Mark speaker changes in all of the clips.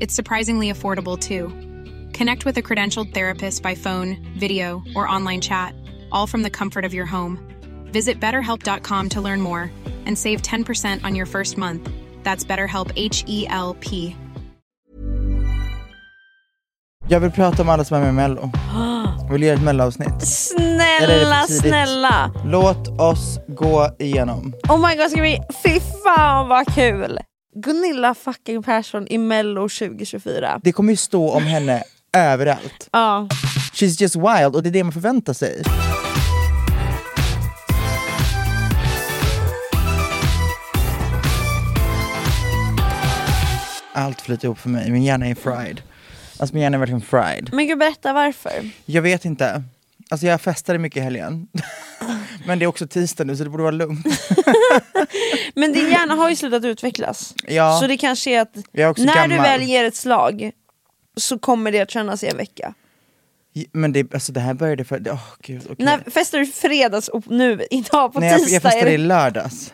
Speaker 1: It's surprisingly affordable too. Connect with a credentialed therapist by phone, video, or online chat, all from the comfort of your home. Visit betterhelp.com to learn more and save 10% on your first month. That's BetterHelp H E L P.
Speaker 2: Jag vill prata om alla som är med i Mello. Jag vill göra ett Mello-avsnitt. Eller är det
Speaker 3: Snälla,
Speaker 2: för tidigt?
Speaker 3: snälla.
Speaker 2: Låt oss gå igenom.
Speaker 3: Oh my god, ska vi... Fy fan vad kul! Gunilla fucking Persson i Mello 2024.
Speaker 2: Det kommer ju stå om henne överallt.
Speaker 3: Ja.
Speaker 2: She's just wild och det är det man förväntar sig. Allt flyter ihop för mig, min hjärna är fried. Alltså min hjärna är verkligen fried.
Speaker 3: Men gud, berätta varför.
Speaker 2: Jag vet inte. Alltså jag festade mycket i helgen. Men det är också tisdag nu så det borde vara lugnt.
Speaker 3: Men din hjärna har ju slutat utvecklas.
Speaker 2: Ja.
Speaker 3: Så det kanske är att
Speaker 2: Jag är också
Speaker 3: när du
Speaker 2: gammal.
Speaker 3: väl ger ett slag så kommer det att kännas i en vecka.
Speaker 2: Men det, alltså det här började för... Åh gud, okej.
Speaker 3: När festar du i fredags och nu, idag på
Speaker 2: Nej, jag,
Speaker 3: tisdag?
Speaker 2: jag
Speaker 3: är
Speaker 2: festade i
Speaker 3: det,
Speaker 2: lördags.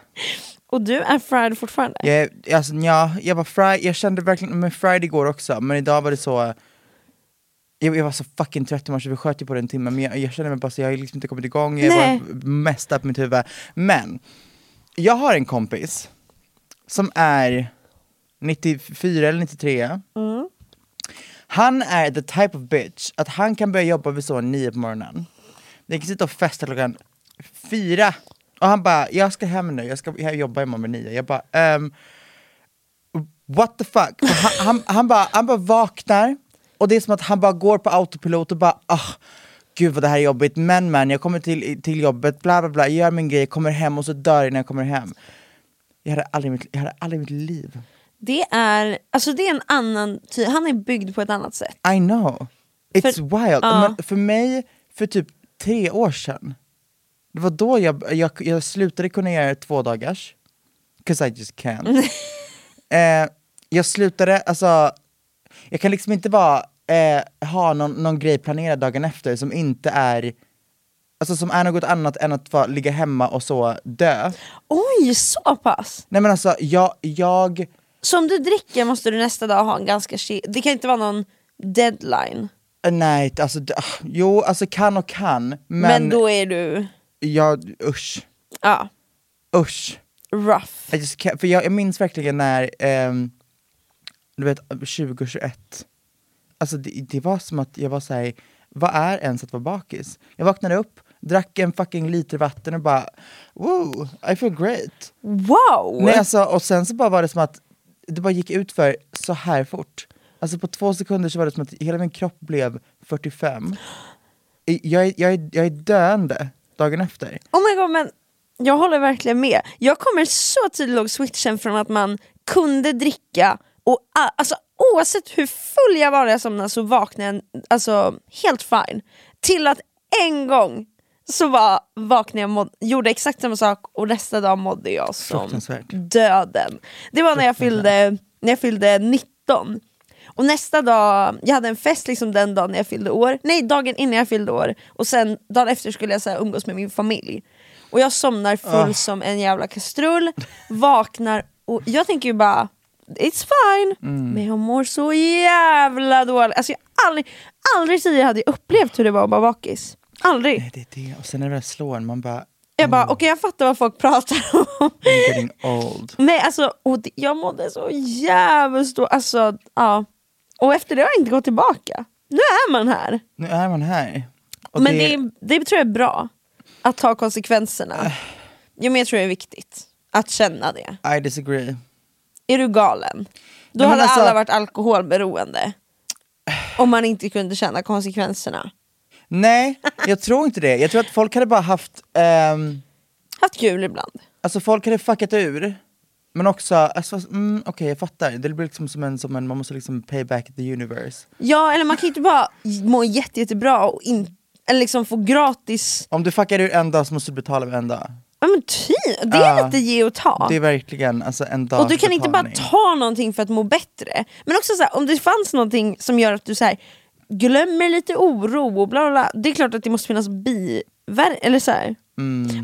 Speaker 3: och du är fried fortfarande?
Speaker 2: Jag, är- alltså, nja, jag var fri, jag kände verkligen mig fried igår också, men idag var det så... Jag, jag var så fucking trött i morse, vi sköt ju på det en timme, men jag, jag kände mig bara så, jag har liksom inte kommit igång, jag
Speaker 3: Nej.
Speaker 2: var mest upp mitt huvud. Men, jag har en kompis som är 94 eller 93. Han är the type of bitch att han kan börja jobba vid så nio på morgonen. Den kan sitta och festa klockan fyra. Och han bara, jag ska hem nu, jag ska jag jobba imorgon vid nio. Jag bara, ehm, what the fuck? Och Han, han, han, bara, han bara vaknar, och det är som att han bara går på autopilot och bara, ah, gud vad det här är jobbigt, men men, jag kommer till, till jobbet, bla bla bla, jag gör min grej, kommer hem och så dör jag när jag kommer hem. Jag hade aldrig i mitt, jag hade aldrig i mitt liv.
Speaker 3: Det är, alltså det är en annan ty- han är byggd på ett annat sätt.
Speaker 2: I know. It's
Speaker 3: För-
Speaker 2: wild.
Speaker 3: Ja.
Speaker 2: Men för mig, för typ tre år sedan, det var då jag, jag, jag slutade kunna göra två dagars. 'Cause I just can't. eh, jag slutade, alltså, jag kan liksom inte bara eh, ha någon, någon grej planerad dagen efter som inte är Alltså som är något annat än att vara, ligga hemma och så dö.
Speaker 3: Oj, så pass!
Speaker 2: Nej men alltså, jag, jag eh,
Speaker 3: Så om du dricker måste du nästa dag ha en ganska chi- det kan inte vara någon deadline.
Speaker 2: eh, nej alltså, d- ah, jo alltså kan och kan, men,
Speaker 3: Men, då är du,
Speaker 2: jag, usch,
Speaker 3: ja,
Speaker 2: usch.
Speaker 3: rough.
Speaker 2: I just can't, för jag, jag minns verkligen när, ehm, du vet 2021, alltså det, det var som att jag var såhär, vad är ens att vara bakis? Jag vaknade upp, drack en fucking liter vatten och bara, wow, I feel great.
Speaker 3: Wow!
Speaker 2: Nej, alltså, och sen så bara var det som att det bara gick ut för så här fort. Alltså på två sekunder så var det som att hela min kropp blev 45. I- Jag är, jag är, jag är döende. dagen efter.
Speaker 3: Oh my god, men jag håller verkligen med. Jag kommer så tydligt ihåg switchen från att man kunde dricka och a- alltså, oavsett hur full jag var när jag somnade så vaknade jag alltså, helt fine. Till att en gång så var, vaknade jag måd, gjorde exakt samma sak och nästa dag mådde jag som
Speaker 2: Fruktansvärt.
Speaker 3: döden. Det var när jag fyllde, när jag fyllde 19. Och nästa dag, jag hade en fest liksom den dagen när jag fyllde år, nej dagen innan jag fyllde år och sen dagen efter skulle jag så här, umgås med min familj. Och jag somnar full som en jävla kastrull, vaknar och jag tänker ju bara It's fine, men jag mår så jävla dåligt. Alltså jag har aldrig, aldrig tidigare hade jag upplevt hur det var att vara bakis. Aldrig.
Speaker 2: Nej, det är det. Och sen när det väl slår en, man bara,
Speaker 3: Jag bara, okej jag fattar vad folk pratar om.
Speaker 2: I'm getting old.
Speaker 3: Nej alltså, och det, jag mådde så jävligt då. Alltså, ja. Och efter det har jag inte gått tillbaka. Nu är man här.
Speaker 2: Nu är man här. Och
Speaker 3: Men det, Äh. det, tror jag är bra. Att ta konsekvenserna. Jo men jag tror det är viktigt. Att känna det.
Speaker 2: I disagree.
Speaker 3: Är du galen? Då
Speaker 2: Nej, men
Speaker 3: hade
Speaker 2: alltså-
Speaker 3: alla varit alkoholberoende. Om man inte kunde känna konsekvenserna.
Speaker 2: Nej, jag tror inte det. Jag tror att folk hade bara haft, ehm,
Speaker 3: Haft kul ibland.
Speaker 2: alltså folk hade fuckat ur. Men också, alltså, mm, okej jag fattar. Det blir liksom som en, som en, man måste liksom pay back the universe.
Speaker 3: Ja eller man kan ju inte bara må jätte, jättebra och in, eller liksom få gratis.
Speaker 2: Om du fuckar ur en dag så måste du betala med en dag.
Speaker 3: Ja men ty, det är
Speaker 2: Ja.
Speaker 3: lite ge och ta.
Speaker 2: Det är verkligen alltså en dag
Speaker 3: Och du kan inte bara ta någonting för att må bättre. Men också så här, om det fanns någonting som gör att du så här, glömmer lite oro och bla bla, bla Det är klart att det måste finnas biver... Eller så här.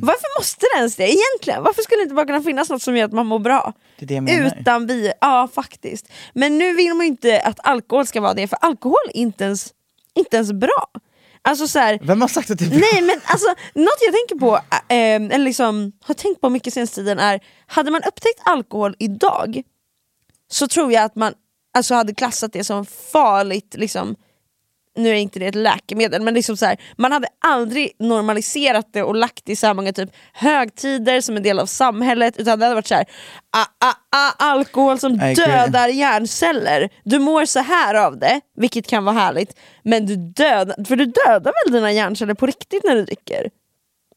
Speaker 3: Varför måste det ens det egentligen? Varför skulle det inte bara kunna finnas något som gör att man mår bra?
Speaker 2: Det är det jag menar.
Speaker 3: Utan bi... Ja faktiskt. Men nu vill man ju inte att alkohol ska vara det, för alkohol är inte ens, inte ens bra. Alltså så här,
Speaker 2: Vem har sagt att det är bra?
Speaker 3: Nej men alltså, något jag tänker på, eh, eller liksom har tänkt på mycket senaste tiden är, hade man upptäckt alkohol idag så tror jag att man alltså, hade klassat det som farligt, liksom, nu är inte det ett läkemedel, men liksom så här, man hade aldrig normaliserat det och lagt det i så här många typ högtider som en del av samhället, utan det hade varit så här, ah, ah, ah, alkohol som
Speaker 2: agree.
Speaker 3: dödar dödar hjärnceller. Du mår så här av det, vilket kan vara härligt, men du dödar, för du dödar väl dina hjärnceller på riktigt när du dricker?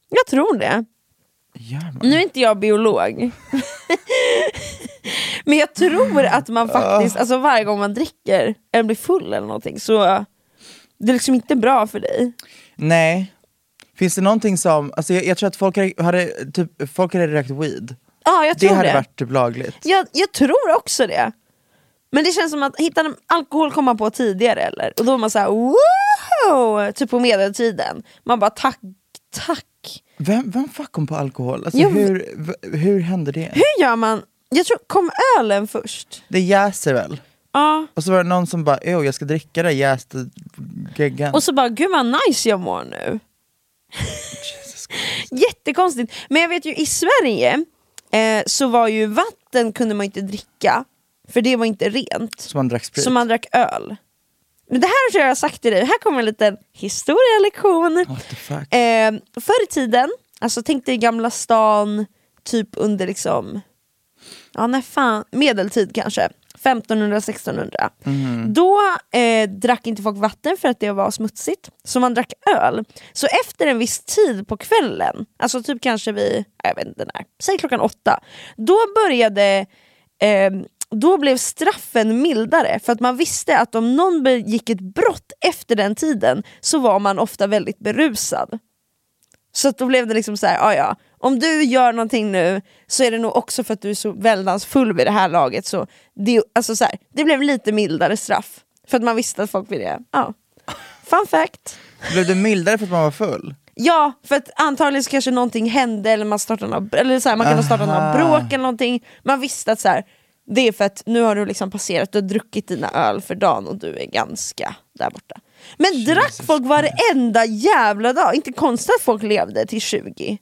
Speaker 3: Jag tror det.
Speaker 2: Gör man?
Speaker 3: Nu är inte jag biolog. men jag tror att man faktiskt, alltså varje gång man dricker eller blir full eller någonting så det är liksom inte bra för dig.
Speaker 2: Nej. Finns det någonting som, alltså jag, jag tror att folk hade, hade, typ, folk hade rökt weed.
Speaker 3: Ja, jag
Speaker 2: Det
Speaker 3: tror det.
Speaker 2: hade varit typ lagligt.
Speaker 3: Jag, jag tror också det. Men det känns som att hitta alkohol kommer man på tidigare eller? Och då är man såhär wow! Typ på medeltiden. Man bara tack, tack.
Speaker 2: Vem, vem fuck kom på alkohol? Alltså,
Speaker 3: Jo,
Speaker 2: hur, v- hur hände det?
Speaker 3: Hur gör man? Jag tror, kom ölen först?
Speaker 2: Det jäser väl?
Speaker 3: Ja.
Speaker 2: Och så var det någon som bara, "Åh, jag ska dricka det jäste geggan.
Speaker 3: Och så bara gud vad nice jag mår nu. Jättekonstigt. Men jag vet ju i Sverige eh, så var ju vatten kunde man inte dricka. För det var inte rent.
Speaker 2: Så man drack sprit.
Speaker 3: Så man drack öl. Men det här tror jag jag har sagt till dig, här kommer en liten historielektion.
Speaker 2: What the fuck?
Speaker 3: Eh, förr i tiden, alltså tänk dig Gamla stan, typ under liksom, ja när fan, medeltid kanske, 1500-1600. Då eh, drack inte folk vatten för att det var smutsigt, så man drack öl. Så efter en viss tid på kvällen, alltså typ kanske vid, jag vet inte när, säg klockan åtta, då började ehm, då blev straffen mildare för att man visste att om någon begick ett brott efter den tiden så var man ofta väldigt berusad. Så att då blev det liksom så här, ja ja, om du gör någonting nu så är det nog också för att du är så väldans full vid det här laget. Så det, alltså så här, det blev lite mildare straff för att man visste att folk ville det. Ja. Fun fact.
Speaker 2: Blev det mildare för att man var full?
Speaker 3: Ja, för att antagligen så kanske någonting hände eller man, startade några, eller så här, man kan ha startat
Speaker 2: Aha.
Speaker 3: några bråk eller någonting. Man visste att så här, det är för att nu har du liksom passerat, du har druckit dina öl för dagen och du är ganska där borta. Men drack folk varenda jävla dag? Inte konstigt att folk levde till 20.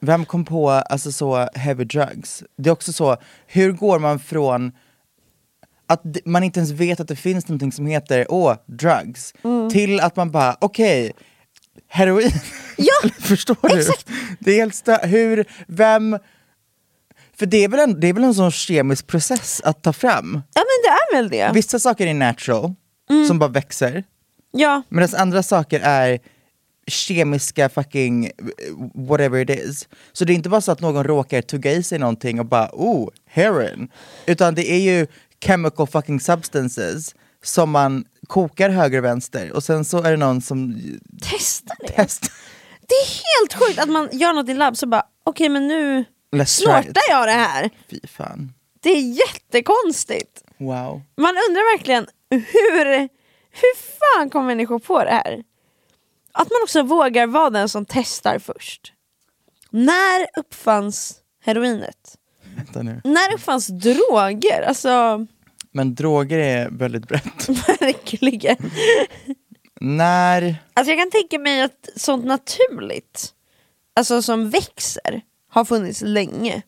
Speaker 2: Vem kom på alltså, så heavy drugs? Det är också så, hur går man från att d- man inte ens vet att det finns någonting som heter åh, drugs,
Speaker 3: Mm.
Speaker 2: till att man bara okej, heroin.
Speaker 3: Ja,
Speaker 2: Förstår
Speaker 3: exakt.
Speaker 2: du? Det är helt stö- hur, vem... För det är, väl en, det är väl en sån kemisk process att ta fram?
Speaker 3: ja Mm. men det är väl det.
Speaker 2: Vissa saker är natural, som bara växer.
Speaker 3: Ja,
Speaker 2: Medan andra saker är kemiska fucking whatever it is. Så det är inte bara så att någon råkar tugga i sig någonting och bara oh, heroin. Utan det är ju chemical fucking substances som man kokar höger och vänster och sen så är det någon som
Speaker 3: Testa det!
Speaker 2: testar.
Speaker 3: Det är helt sjukt att man gör något i labb så bara okej men nu
Speaker 2: Let's try it.
Speaker 3: snortar jag det här.
Speaker 2: Fy fan.
Speaker 3: Det är jättekonstigt.
Speaker 2: Wow.
Speaker 3: Man undrar verkligen hur, hur fan kom människor på det här? Att man också vågar vara den som testar först. När uppfanns heroinet?
Speaker 2: Vänta nu.
Speaker 3: När uppfanns droger? Alltså
Speaker 2: Men droger är väldigt brett.
Speaker 3: verkligen.
Speaker 2: När...
Speaker 3: Alltså jag kan tänka mig att sånt naturligt, alltså som växer, har funnits länge.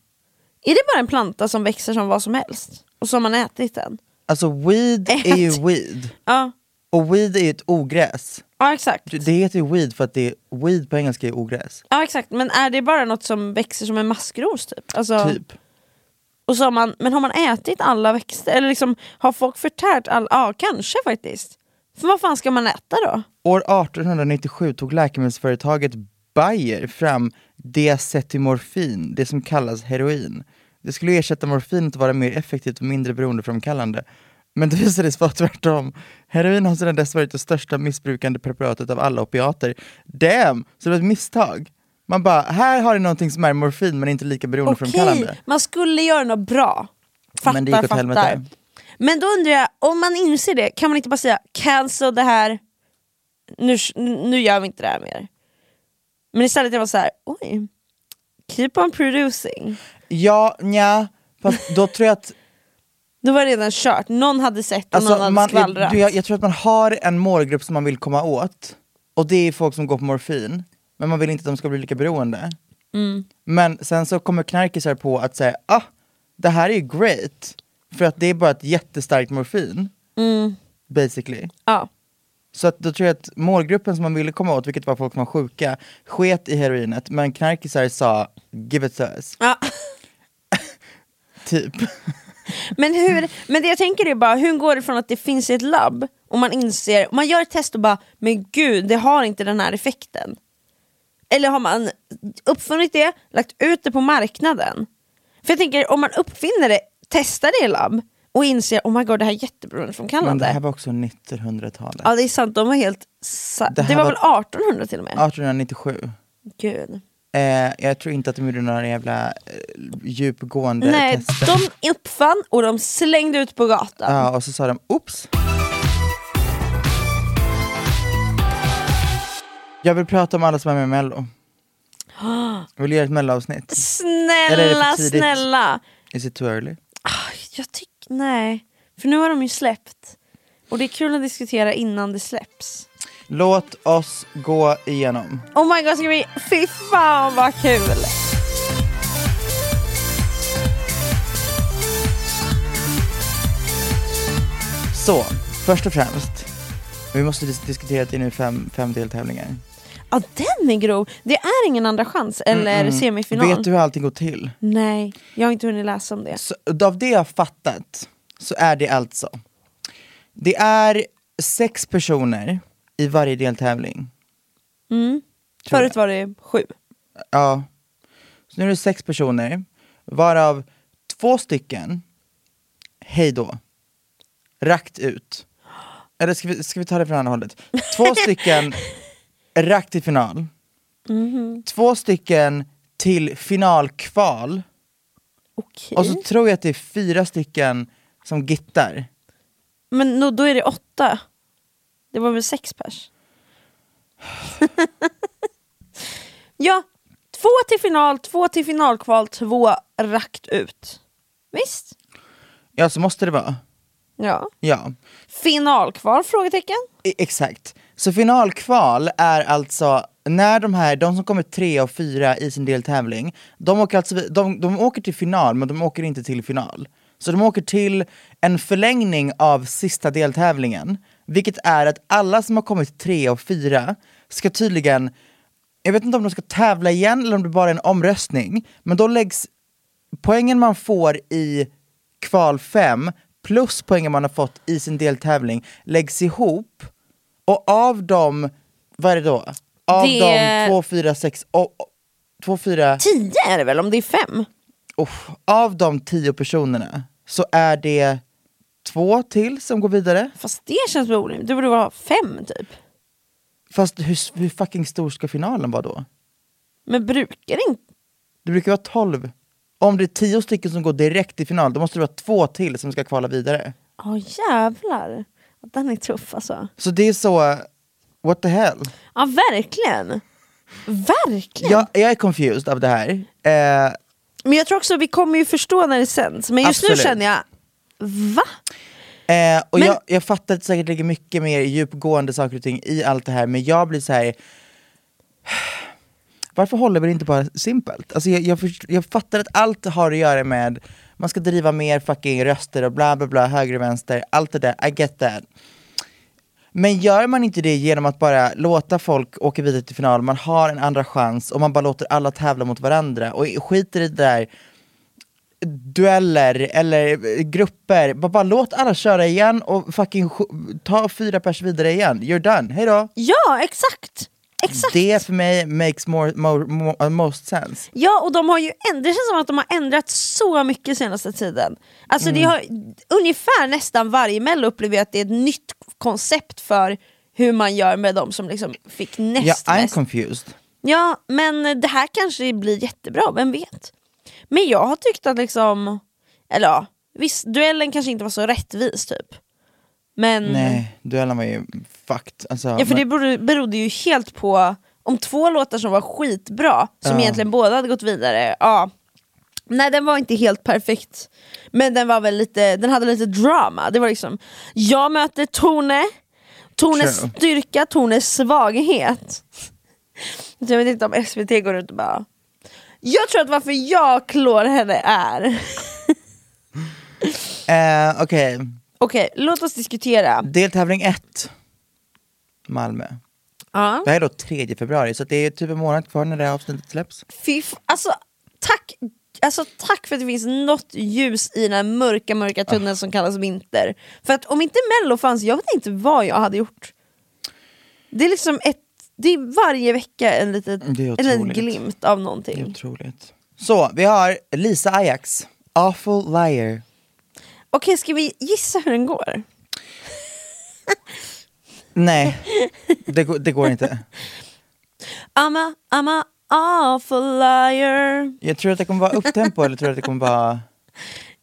Speaker 3: Är det bara en planta som växer som vad som helst? Och som man ätit den?
Speaker 2: Alltså weed är ju weed.
Speaker 3: Ja,
Speaker 2: Och weed är ju ett ogräs.
Speaker 3: ja exakt.
Speaker 2: Det heter ju weed för att det är, weed på engelska är ogräs.
Speaker 3: Ja exakt, men är det bara något som växer som en maskros typ? Alltså,
Speaker 2: Typ.
Speaker 3: Och så har man, men har man ätit alla växter? Eller liksom, har folk förtärt alla? Ja kanske faktiskt. För vad fan ska man äta då?
Speaker 2: År 1897 tog läkemedelsföretaget Bayer fram diacetimorfin, det som kallas heroin. Det skulle ersätta morfinet och vara mer effektivt och mindre beroendeframkallande. Men det visade sig vara tvärtom. Heroin har sedan dess varit det största missbrukande preparatet av alla opiater. Damn! Så det var ett misstag. Man bara, här har ni någonting som är morfin men inte lika beroendeframkallande.
Speaker 3: Okej, man skulle göra något bra. Fattar,
Speaker 2: Men det gick åt
Speaker 3: fattar.
Speaker 2: helvete.
Speaker 3: Men då undrar jag, om man inser det, kan man inte bara säga cancel det här, nu, nu gör vi inte det här mer. Men istället är det bara så här, oj, keep on producing.
Speaker 2: Ja, nja. Fast då tror jag att
Speaker 3: Då var det redan kört, någon hade sett och någon hade
Speaker 2: Alltså, man,
Speaker 3: skvallrat.
Speaker 2: jag, jag tror att man har en målgrupp som man vill komma åt. Och det är folk som går på morfin. Men man vill inte att de ska bli lika beroende.
Speaker 3: Mm.
Speaker 2: Men sen så kommer knarkisar på att säga, ah, det här är ju great. För att det är bara ett jättestarkt morfin.
Speaker 3: Mm.
Speaker 2: Basically.
Speaker 3: ja.
Speaker 2: Så att då tror jag att målgruppen som man ville komma åt, vilket var folk som var sjuka, sket i heroinet. Men knarkisar sa, give it to us.
Speaker 3: Ja.
Speaker 2: Typ.
Speaker 3: Men, hur, men det jag tänker är bara, hur går det från att det finns i ett labb och man inser, man gör ett test och bara, men gud det har inte den här effekten. Eller har man uppfunnit det, lagt ut det på marknaden? För jag tänker om man uppfinner det, testar det i labb och inser, oh my god det här är
Speaker 2: Men det här
Speaker 3: jätteberoendeframkallande.
Speaker 2: var också 1900-talet.
Speaker 3: Ja det är sant, de var helt sa-
Speaker 2: Det
Speaker 3: det,
Speaker 2: här
Speaker 3: var
Speaker 2: var-
Speaker 3: väl 1800 till och med?
Speaker 2: 1897.
Speaker 3: Gud.
Speaker 2: Eh, jag tror inte att de gjorde några jävla eh, djupgående
Speaker 3: Nej,
Speaker 2: tester.
Speaker 3: de uppfann och de slängde ut på gatan.
Speaker 2: Ja, och så sa de oops. Jag vill prata om alla som är med i Mello. Jag vill göra ett Mello-avsnitt. Eller är det
Speaker 3: Snälla,
Speaker 2: för tidigt?
Speaker 3: snälla.
Speaker 2: Is it too early?
Speaker 3: Jag tycker, nej. För nu har de ju släppt. Och det är kul att diskutera innan det släpps.
Speaker 2: Låt oss gå igenom.
Speaker 3: Oh my god, ska vi, fy fan vad kul!
Speaker 2: Så, först och främst. Vi måste dis- diskutera att det är nu fem, fem deltävlingar.
Speaker 3: Ja den är grov! Det är ingen andra chans eller semifinal.
Speaker 2: Vet du hur allting går till?
Speaker 3: Nej, jag har inte hunnit läsa om det.
Speaker 2: Så, av det jag har fattat så är det alltså, det är sex personer i varje deltävling. tror
Speaker 3: Förut var det sju.
Speaker 2: Ja. Så nu är det sex personer, varav två stycken, hej då, rakt ut. Eller ska vi, ska vi ta det från andra hållet? Två stycken rakt till final. Två stycken till finalkval.
Speaker 3: Okej.
Speaker 2: Och så tror jag att det är fyra stycken som gittar.
Speaker 3: Men no, då är det åtta. Det var väl sex pers? ja, två till final, två till finalkval, två rakt ut. Visst?
Speaker 2: Ja, så måste det vara.
Speaker 3: Ja.
Speaker 2: Ja,
Speaker 3: Finalkval? Frågetecken.
Speaker 2: I- exakt. Så finalkval är alltså när de här, de som kommer tre och fyra i sin deltävling, de åker, alltså, vi- de, de åker till final men de åker inte till final. Så de åker till en förlängning av sista deltävlingen, vilket är att alla som har kommit tre och fyra ska tydligen, jag vet inte om de ska tävla igen eller om det bara är en omröstning, men då läggs poängen man får i kval 5 plus poängen man har fått i sin deltävling läggs ihop och av dem, vad är det då? Av
Speaker 3: Det-
Speaker 2: de 2, 4, 6, 2, 4,
Speaker 3: Tio är det väl om det är fem?
Speaker 2: av de 10 personerna så är det två till som går vidare.
Speaker 3: Fast det känns väl orimligt, det borde vara fem typ.
Speaker 2: Fast hur, hur fucking stor ska finalen vara då?
Speaker 3: Men brukar det inte...
Speaker 2: Det brukar vara 12. Om det är 10 stycken som går direkt till final, då måste det vara två till som ska kvala vidare.
Speaker 3: Ja jävlar. Den är tuff alltså.
Speaker 2: Så det är så, uh, what the hell?
Speaker 3: Ja verkligen. Verkligen.
Speaker 2: Jag, jag är confused av det här. Eh,
Speaker 3: Men jag tror också vi kommer ju förstå när det sänds. Men just nu
Speaker 2: Absolut.
Speaker 3: känner jag, va?
Speaker 2: Eh, och
Speaker 3: Men-
Speaker 2: jag, jag fattar att det säkert ligger mycket mer djupgående saker och ting i allt det här, men jag blir så här. Varför håller vi det inte bara simpelt? Alltså jag, jag, först- jag fattar att allt har att göra med man ska driva mer fucking röster och bla bla bla, höger och vänster, allt det där, I get that. Men gör man inte det genom att bara låta folk åka vidare till final, man har en andra chans och man bara låter alla tävla mot varandra och skiter i det där dueller eller eh, grupper. Bara, bara låt alla köra igen och fucking sj- ta fyra pers vidare igen. You're done, hejdå!
Speaker 3: Ja exakt. Exakt.
Speaker 2: Det för mig makes more, more, more, uh, most sense.
Speaker 3: Ja och de har ju änd- det känns som att de har ändrat så mycket senaste tiden. Alltså
Speaker 2: Mm.
Speaker 3: det har, ungefär nästan varje mello upplever jag att det är ett nytt koncept för hur man gör med de som liksom fick näst
Speaker 2: Ja, I'm
Speaker 3: mest.
Speaker 2: confused.
Speaker 3: Ja, men det här kanske blir jättebra, vem vet? Men jag har tyckt att liksom, eller ja, visst duellen kanske inte var så rättvis typ. Men,
Speaker 2: Nej, duellen var ju fucked. Alltså,
Speaker 3: Mm. ja för det
Speaker 2: men,
Speaker 3: berodde, berodde ju helt på om två låtar som var skitbra, som
Speaker 2: Ja.
Speaker 3: egentligen båda hade gått vidare, ja. Nej den var inte helt perfekt, men den var väl lite, den hade lite drama. Det var liksom, jag möter Tone, Tones
Speaker 2: True.
Speaker 3: styrka, Tones svaghet. Så Jag vet inte om SVT går runt och bara Jag tror att varför jag klår henne är
Speaker 2: eh, Okej,
Speaker 3: Okej, låt oss diskutera
Speaker 2: deltävling ett. Malmö.
Speaker 3: ja.
Speaker 2: Det här är då 3 februari, så det är typ en månad kvar när det här avsnittet släpps.
Speaker 3: Fy f- alltså, tack, alltså tack för att det finns något ljus i den här mörka
Speaker 2: Ah.
Speaker 3: mörka tunneln som kallas vinter För att om inte mello fanns, jag vet inte vad jag hade gjort Det är liksom ett, det är varje vecka en liten,
Speaker 2: Det är
Speaker 3: en liten
Speaker 2: otroligt.
Speaker 3: glimt av
Speaker 2: Det är
Speaker 3: någonting
Speaker 2: otroligt. Så, vi har Lisa Ajax, Awful Liar.
Speaker 3: Okej, ska vi gissa hur den går?
Speaker 2: Nej, det, går- det går inte.
Speaker 3: I'm a, I'm a awful liar
Speaker 2: Jag tror att det kommer vara upptempo eller tror du att det kommer vara...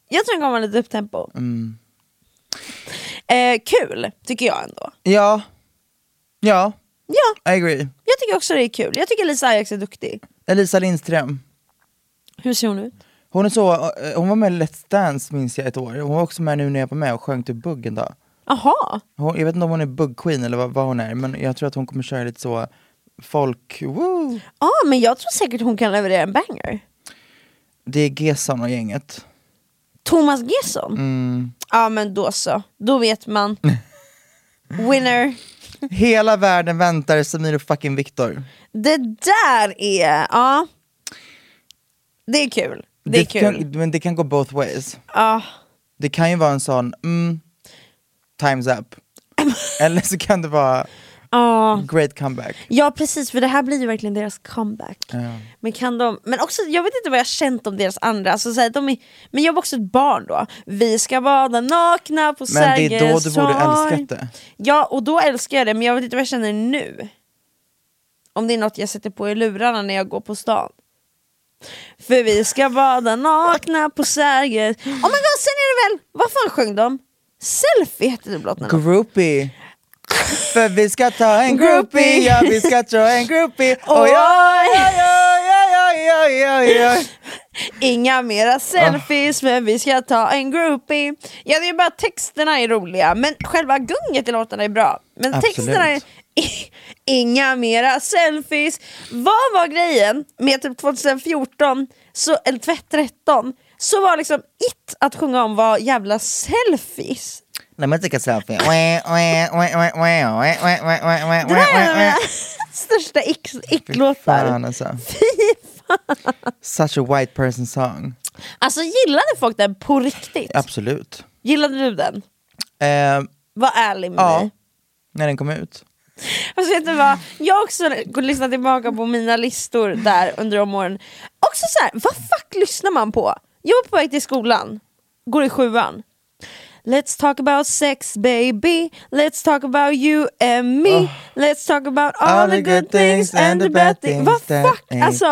Speaker 3: Jag tror den kommer vara lite upptempo.
Speaker 2: Mm.
Speaker 3: Eh, kul, tycker jag ändå.
Speaker 2: Ja. Ja,
Speaker 3: Ja,
Speaker 2: I agree.
Speaker 3: jag tycker också det är kul. Jag tycker Lisa Ajax är duktig.
Speaker 2: Elisa Lindström.
Speaker 3: Hur ser hon ut?
Speaker 2: Hon, är så, eh, hon var med i Let's Dance minns jag ett år. Hon var också med nu när jag var med och sjöng till Bugg en dag.
Speaker 3: Aha.
Speaker 2: Hon, jag vet inte om hon är Bugg Queen eller vad, vad hon är, men jag tror att hon kommer köra lite så folk... Woo.
Speaker 3: Ja, men jag tror säkert hon kan leverera en banger.
Speaker 2: Det är Gesson och gänget.
Speaker 3: Thomas Gesson? Ja,
Speaker 2: Mm.
Speaker 3: men då så. Då vet man. Winner.
Speaker 2: Hela världen väntar Samir och fucking Viktor.
Speaker 3: Det där är... Ja. Det är kul. Det är kul.
Speaker 2: Kan, men det kan gå both ways.
Speaker 3: Ja.
Speaker 2: Det kan ju vara en sån, mm, times up. eller så kan det vara
Speaker 3: Ja.
Speaker 2: great comeback.
Speaker 3: Ja precis, för det här blir ju verkligen deras comeback.
Speaker 2: Ja.
Speaker 3: Men kan de, men också, jag vet inte vad jag känt om deras andra, alltså, så här, de är, men jag var också ett barn då. Vi ska bada nakna på
Speaker 2: Men det
Speaker 3: Sergels
Speaker 2: är då du borde
Speaker 3: torg.
Speaker 2: älskat det.
Speaker 3: Ja, och då älskar jag det, men jag vet inte vad jag känner nu. Om det är något jag sätter på i lurarna när jag går på stan. För vi ska bada nakna på Sergels... Oh my god, sen är det väl, vad fan sjöng de? Selfie hette det blott när de-
Speaker 2: Groupie. För vi ska ta en groupie, ja vi ska ta en groupie. Oj, oj, oj, oj, oj, oj, oj.
Speaker 3: Inga
Speaker 2: Ah.
Speaker 3: mera selfies men vi ska ta en groupie Ja det är bara texterna är roliga men själva gunget i låtarna är bra Men
Speaker 2: Absolut.
Speaker 3: texterna är Inga mera selfies Vad var grejen med typ 2014 så, eller 2013 så var liksom it att sjunga om var jävla selfies
Speaker 2: Let me take a selfie. Wah, wah, wah, wah, wah, wah, wah, wah, wah, wah,
Speaker 3: Det där är en
Speaker 2: wah,
Speaker 3: av
Speaker 2: wah.
Speaker 3: mina största ick- ick-låtar
Speaker 2: Fan alltså. Such a white person song.
Speaker 3: Alltså gillade folk den på riktigt?
Speaker 2: Absolut.
Speaker 3: Gillade du den?
Speaker 2: Ehm,
Speaker 3: Var ärlig med
Speaker 2: Ja.
Speaker 3: mig
Speaker 2: när den kom ut.
Speaker 3: Alltså vet du vad, jag har också går och lyssnar tillbaka på mina listor där under de åren. Också så här, vad fuck lyssnar man på? Jag var på väg till skolan, går i sjuan. Let's talk about sex baby, let's talk about you and me, let's talk about Ah. all, the good things and the bad things. Vad fuck, alltså.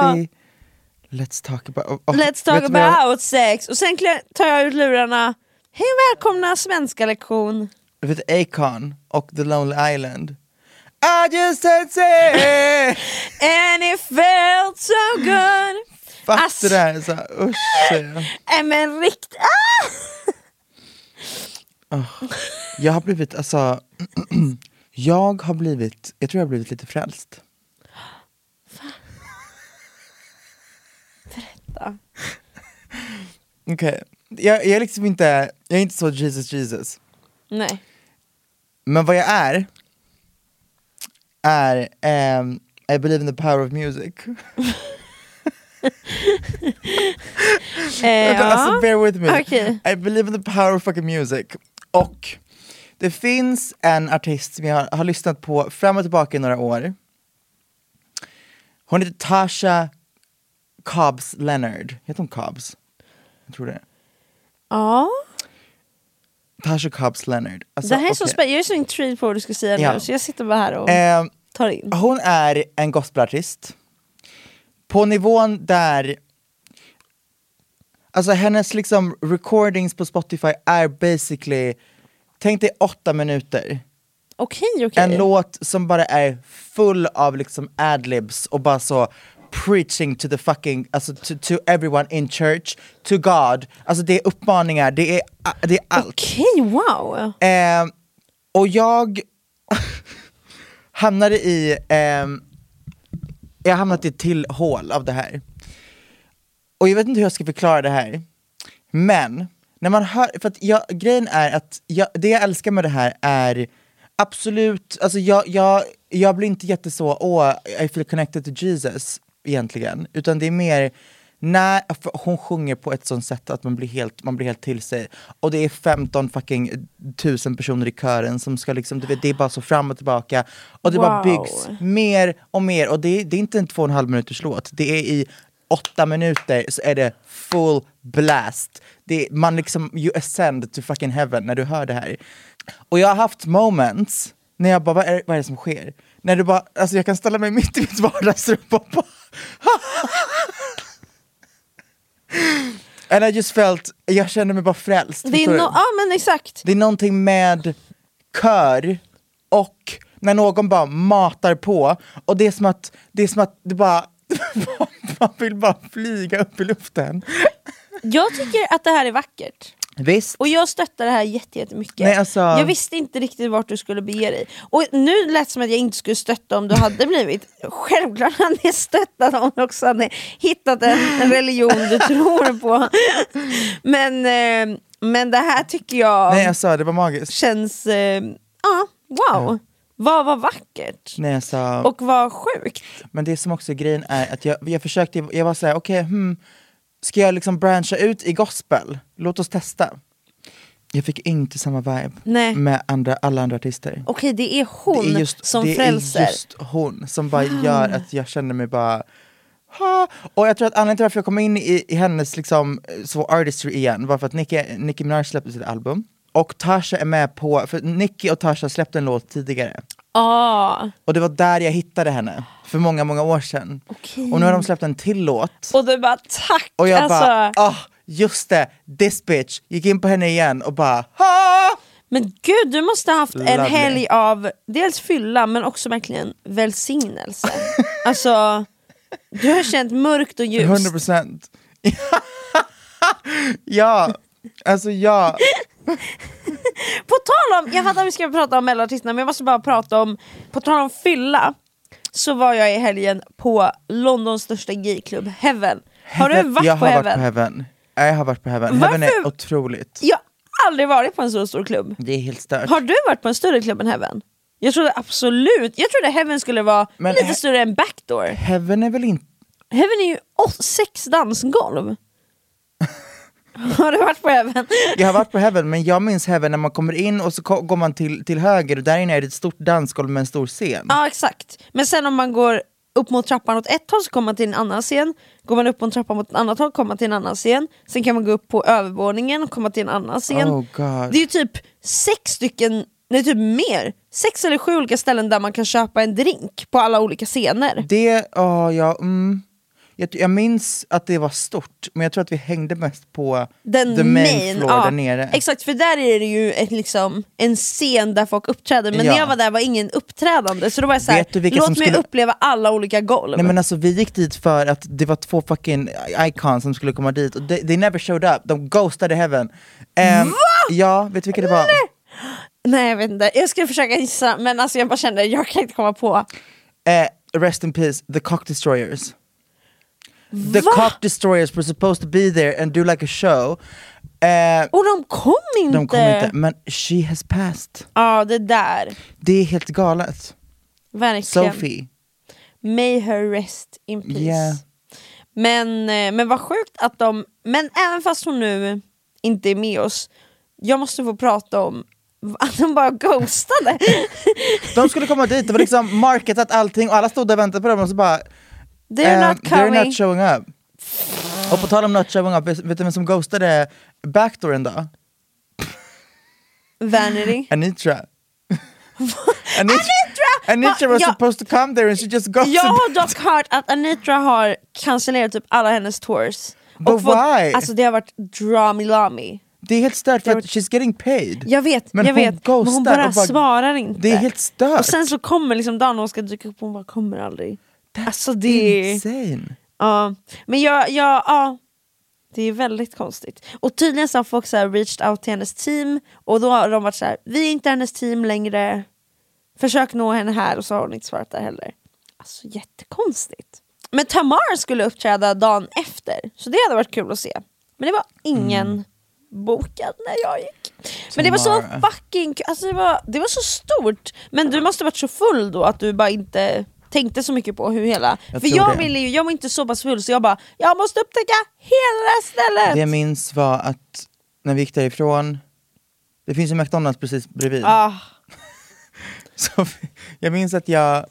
Speaker 2: Let's talk about... oh, oh,
Speaker 3: Let's talk
Speaker 2: vet du vad jag-
Speaker 3: about sex. Och sen klä- tar jag ut lurarna. Hej och välkomna svenska lektion.
Speaker 2: Vet du, Akon och The Lonely Island. I just had sex!
Speaker 3: And it felt so good.
Speaker 2: Fuck
Speaker 3: Alltså.
Speaker 2: det där, så, här, usch säger jag.
Speaker 3: Nej men rikt... Ah!
Speaker 2: Jag har blivit, alltså, jag har blivit, jag tror jag har blivit lite frälst.
Speaker 3: Berätta.
Speaker 2: Okej, jag, jag är liksom inte, jag är inte så Jesus Jesus.
Speaker 3: Nej.
Speaker 2: Men vad jag är, är ehm, I believe in the power of music.
Speaker 3: Eh,
Speaker 2: Vänta,
Speaker 3: ja.
Speaker 2: Alltså bear with me.
Speaker 3: Okej.
Speaker 2: I believe in the power of fucking music. Och det finns en artist som jag har, har lyssnat på fram och tillbaka i några år. Hon heter Tasha Cobbs Leonard. Heter hon Cobbs? Jag tror det.
Speaker 3: ja.
Speaker 2: Tasha Cobbs Leonard. Alltså,
Speaker 3: Det här är så
Speaker 2: okej.
Speaker 3: spännande. Jag är så intrigued på vad du ska säga
Speaker 2: Ja.
Speaker 3: nu så jag sitter bara här och
Speaker 2: Ehm,
Speaker 3: tar in.
Speaker 2: Hon är en gospelartist. På nivån där... Alltså hennes liksom recordings på Spotify är basically... Tänk dig åtta minuter.
Speaker 3: Okej okej.
Speaker 2: En låt som bara är full av liksom adlibs och bara så preaching to the fucking, alltså to, to everyone in church, to God. Alltså det är uppmaningar, det är, det är allt.
Speaker 3: Okej wow.
Speaker 2: Ehm, och jag hamnade i, ehm, jag har hamnat i ett till hål av det här. Och jag vet inte hur jag ska förklara det här. Men, när man hör, för att jag, grejen är att jag, det jag älskar med det här är absolut, alltså jag, jag, jag blir inte jätte så, åh, I feel connected to Jesus egentligen. Utan det är mer, när för hon sjunger på ett sånt sätt att man blir, helt, man blir helt till sig. Och det är 15 fucking tusen personer i kören som ska liksom, du vet, det är bara så fram och tillbaka. Och det bara
Speaker 3: Wow.
Speaker 2: byggs mer och mer. Och det, är- det är inte en två och en halv minuters låt. Det är i åtta minuter så är det full blast. Det, är- man liksom, you ascend to fucking heaven när du hör det här. Och jag har haft moments när jag bara, vad är, vad är det som sker? När du bara, alltså jag kan ställa mig mitt i mitt vardagsrum och bara And I just felt, jag kände mig bara frälst.
Speaker 3: Det är
Speaker 2: förstår
Speaker 3: no-
Speaker 2: du?
Speaker 3: ja men exakt.
Speaker 2: Det är någonting med kör och när någon bara matar på och det är som att det, är som att det bara man vill bara flyga upp i luften.
Speaker 3: Jag tycker att det här är vackert.
Speaker 2: Visst.
Speaker 3: Och jag stöttar det här jätte- jättemycket.
Speaker 2: Nej, alltså-
Speaker 3: Jag visste inte riktigt vart du skulle bege dig. Och nu lät det som att jag inte skulle stötta om du hade blivit. Självklart hade jag stöttat om du också hade hittat en religion du tror på. Men, eh, men det här tycker jag
Speaker 2: Nej jag sa det var magiskt.
Speaker 3: känns... eh, Ja, wow. Vad var vackert.
Speaker 2: Nej jag sa,
Speaker 3: Och vad sjukt.
Speaker 2: men det som också är grejen är att jag, jag försökte, jag var såhär okej hmm, ska jag liksom branscha ut i gospel? Låt oss testa. Jag fick inte samma vibe
Speaker 3: Nej.
Speaker 2: med andra, alla andra artister.
Speaker 3: Okej, det är hon
Speaker 2: det är just,
Speaker 3: som
Speaker 2: det
Speaker 3: frälser.
Speaker 2: är just hon som bara gör att jag känner mig bara... Ha. Och jag tror att anledningen till varför jag kom in i, i hennes liksom, eh, så artistry igen var för att Nicki, Nicki Minaj släppte sitt album. Och Tasha är med på, för Nicki och Tasha släppte en låt tidigare.
Speaker 3: Ja.
Speaker 2: Och det var där jag hittade henne, för många, många år sedan.
Speaker 3: Okej.
Speaker 2: Och nu har de släppt en till låt.
Speaker 3: Och du bara tack!
Speaker 2: Och jag
Speaker 3: alltså.
Speaker 2: bara, ah, just det, this bitch. Gick in på henne igen och bara, ha!
Speaker 3: Men gud, du måste ha haft en
Speaker 2: Lovely.
Speaker 3: helg av dels fylla men också verkligen välsignelse. alltså, du har känt mörkt och ljust.
Speaker 2: 100 procent. ja, alltså ja.
Speaker 3: På tal om, jag fattar att vi ska prata om mellanartisterna men jag måste bara prata om, på tal om fylla, så var jag i helgen på Londons största gayklubb, Heaven. Har du
Speaker 2: Heaven-
Speaker 3: varit
Speaker 2: jag
Speaker 3: på
Speaker 2: har Varit
Speaker 3: Heaven?
Speaker 2: på heaven? Ja, Jag har varit på Heaven. Heaven
Speaker 3: Varför-
Speaker 2: är otroligt.
Speaker 3: Jag har aldrig varit på en så stor klubb.
Speaker 2: Det är helt stört.
Speaker 3: Har du varit på en större klubb än Heaven? Jag trodde absolut, jag trodde Heaven skulle vara
Speaker 2: Men
Speaker 3: lite
Speaker 2: he-
Speaker 3: större än Backdoor.
Speaker 2: Heaven är väl inte...
Speaker 3: Heaven är ju åh, sex dansgolv. Har du varit på även?
Speaker 2: Jag har varit på Heaven, men jag minns Heaven när man kommer in och så ko- går man till, till höger och där inne är det ett stort dansgolv med en stor scen.
Speaker 3: Ja exakt, men sen om man går upp mot trappan åt ett håll så kommer man till en annan scen, går man upp mot trappan mot ett annat håll kommer man till en annan scen, sen kan man gå upp på övervåningen och komma till en annan scen.
Speaker 2: Oh god.
Speaker 3: Det är ju typ sex stycken, nej typ mer, sex eller sju olika ställen där man kan köpa en drink på alla olika scener.
Speaker 2: Det, ja, ja, mm. jag, jag minns att det var stort, men jag tror att vi hängde mest på
Speaker 3: Den
Speaker 2: the main,
Speaker 3: main,
Speaker 2: floor
Speaker 3: ja,
Speaker 2: där nere.
Speaker 3: Exakt, för där är det ju ett, liksom, en scen där folk uppträder, men
Speaker 2: Ja.
Speaker 3: när jag var där var ingen uppträdande, så då var jag såhär,
Speaker 2: Vet du vilka
Speaker 3: låt
Speaker 2: som
Speaker 3: mig
Speaker 2: skulle-
Speaker 3: uppleva alla olika golv.
Speaker 2: Nej men alltså vi gick dit för att det var två fucking icons som skulle komma dit och they, they never showed up, de ghostade heaven. Um, Ja, vet du vilka det var?
Speaker 3: Nej jag vet inte, jag skulle försöka gissa men alltså jag bara kände jag kan inte komma på.
Speaker 2: Eh, rest in peace, the cock destroyers. The cock destroyers were supposed to be there and do like a show. Eh,
Speaker 3: Och de kom inte!
Speaker 2: de kom inte, men she has passed.
Speaker 3: Ja det där,
Speaker 2: Det är helt galet.
Speaker 3: verkligen.
Speaker 2: Sophie.
Speaker 3: May her rest in peace.
Speaker 2: Yeah.
Speaker 3: Men, eh, men vad sjukt att de, men även fast hon nu inte är med oss, jag måste få prata om att de bara ghostade.
Speaker 2: De skulle komma dit, det var liksom marketat allting och alla stod där och väntade på dem och så bara
Speaker 3: They're
Speaker 2: ehm,
Speaker 3: not coming.
Speaker 2: they're not showing up. Och på tal om not showing up, vet vet du vem som ghostade backdooren då?
Speaker 3: Vanity.
Speaker 2: Anitra. Anitra! Anitra
Speaker 3: Va-
Speaker 2: was
Speaker 3: ja.
Speaker 2: supposed to come there and she just ghosted.
Speaker 3: Jag har dock hört att Anitra har cancellerat typ alla hennes tours.
Speaker 2: But why?
Speaker 3: Alltså det har varit drami-lami.
Speaker 2: Det är helt stört för
Speaker 3: Det
Speaker 2: att she's getting paid.
Speaker 3: Jag vet,
Speaker 2: Men
Speaker 3: jag
Speaker 2: hon
Speaker 3: vet. men
Speaker 2: ghostar
Speaker 3: hon bara,
Speaker 2: och bara-
Speaker 3: svarar inte.
Speaker 2: Det är helt stört.
Speaker 3: Och sen så kommer liksom dagen hon ska dyka upp och hon bara kommer aldrig.
Speaker 2: That's
Speaker 3: alltså det är-
Speaker 2: Insane.
Speaker 3: Ja, men jag, jag, ja. Det är väldigt konstigt. Och tydligen så har folk så här reached out till hennes team och då har de varit så här, vi är inte hennes team längre. Försök nå henne här och så har hon inte svarat där heller. Alltså jättekonstigt. Men Tamar skulle uppträda dagen efter, så det hade varit kul att se. Men det var ingen
Speaker 2: Mm.
Speaker 3: bokad när jag gick. Men det var så
Speaker 2: Tamara.
Speaker 3: fucking kul, alltså det, var, det var så stort. Men du måste varit så full då att du bara inte tänkte så mycket på hur hela...
Speaker 2: Jag
Speaker 3: för
Speaker 2: tror
Speaker 3: jag
Speaker 2: det.
Speaker 3: ville ju, jag var inte så pass full så jag bara, jag måste upptäcka hela stället!
Speaker 2: Det jag minns var att när vi gick därifrån, det finns ju McDonalds precis bredvid.
Speaker 3: ah,
Speaker 2: Så vi- jag minns att jag,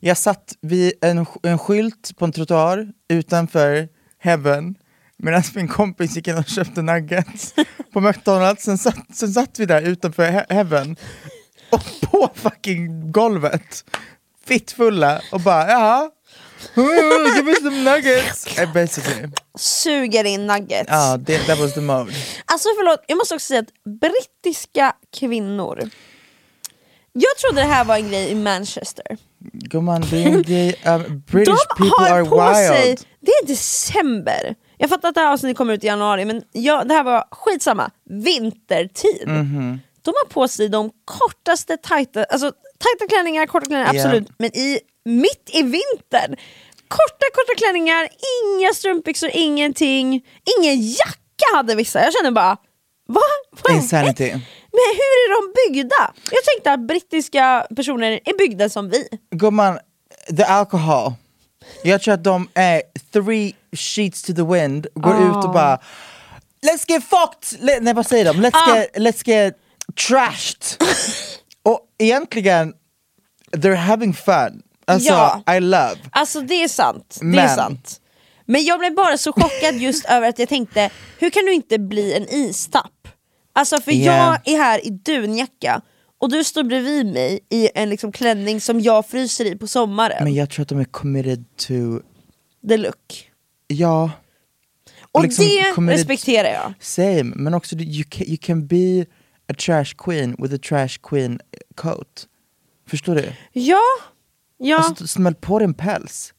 Speaker 2: jag satt vid en, sk- en skylt på en trottoar utanför Heaven medan min kompis gick in och köpte nuggets på McDonalds. Sen satt, sen satt vi där utanför He- Heaven och på fucking golvet, fittfulla och bara jaha, Mm, give me some
Speaker 3: Oh
Speaker 2: nuggets. Eh, Basically.
Speaker 3: suger in nuggets.
Speaker 2: Ja, det that was the mode.
Speaker 3: Alltså förlåt, jag måste också säga att brittiska kvinnor jag trodde det här var en grej i Manchester.
Speaker 2: Gumman, being gay, um, British
Speaker 3: De
Speaker 2: people
Speaker 3: har
Speaker 2: are
Speaker 3: på sig,
Speaker 2: wild.
Speaker 3: det är december. Jag fattar att det här avsnittet kommer ut i januari men jag, det här var skitsamma, vintertid.
Speaker 2: Mhm.
Speaker 3: De har på sig de kortaste, tajta, alltså tajta klänningar, korta klänningar
Speaker 2: Ja.
Speaker 3: absolut, men i, mitt i vintern. Korta, korta klänningar, inga strumpbyxor, ingenting, ingen jacka hade vissa. Jag känner bara, va? Vad är-
Speaker 2: Insanity.
Speaker 3: Men hur är de byggda? Jag tänkte att brittiska personer är byggda som vi.
Speaker 2: Gumman, the alcohol. Jag tror att de är three sheets to the wind, går ut
Speaker 3: Ah.
Speaker 2: och bara Let's get fucked! Le- nej vad säger de? Let's,
Speaker 3: Ah.
Speaker 2: get, let's get trashed! och egentligen, they're having fun. Alltså,
Speaker 3: Ja.
Speaker 2: I love.
Speaker 3: Alltså det är sant, det är
Speaker 2: Men-
Speaker 3: sant. Men jag blev bara så chockad just över att jag tänkte, hur kan du inte bli en istapp? Alltså för
Speaker 2: Yeah.
Speaker 3: jag är här i dunjacka och du står bredvid mig i en liksom klänning som jag fryser i på sommaren.
Speaker 2: Men jag tror att de är committed to,
Speaker 3: Deluxe.
Speaker 2: ja,
Speaker 3: Och
Speaker 2: liksom, kommer
Speaker 3: det
Speaker 2: det-
Speaker 3: respekterar jag.
Speaker 2: same. Men också, du- you can, you can be a trash queen with a trash queen coat. Förstår du?
Speaker 3: Ja, ja,
Speaker 2: Alltså, smäll på din päls.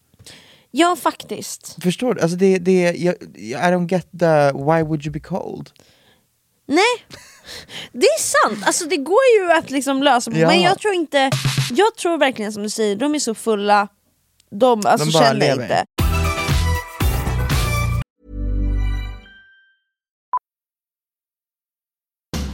Speaker 3: ja faktiskt.
Speaker 2: Förstår du? Alltså det, det, jag, jag- I don't get the why would you be cold.
Speaker 3: Nej, det är sant. Alltså det går ju att liksom lösa.
Speaker 2: Ja.
Speaker 3: Men jag tror inte, jag tror verkligen som du säger, de är så fulla, de, alltså,
Speaker 2: bara
Speaker 3: känner
Speaker 2: lever.
Speaker 3: inte.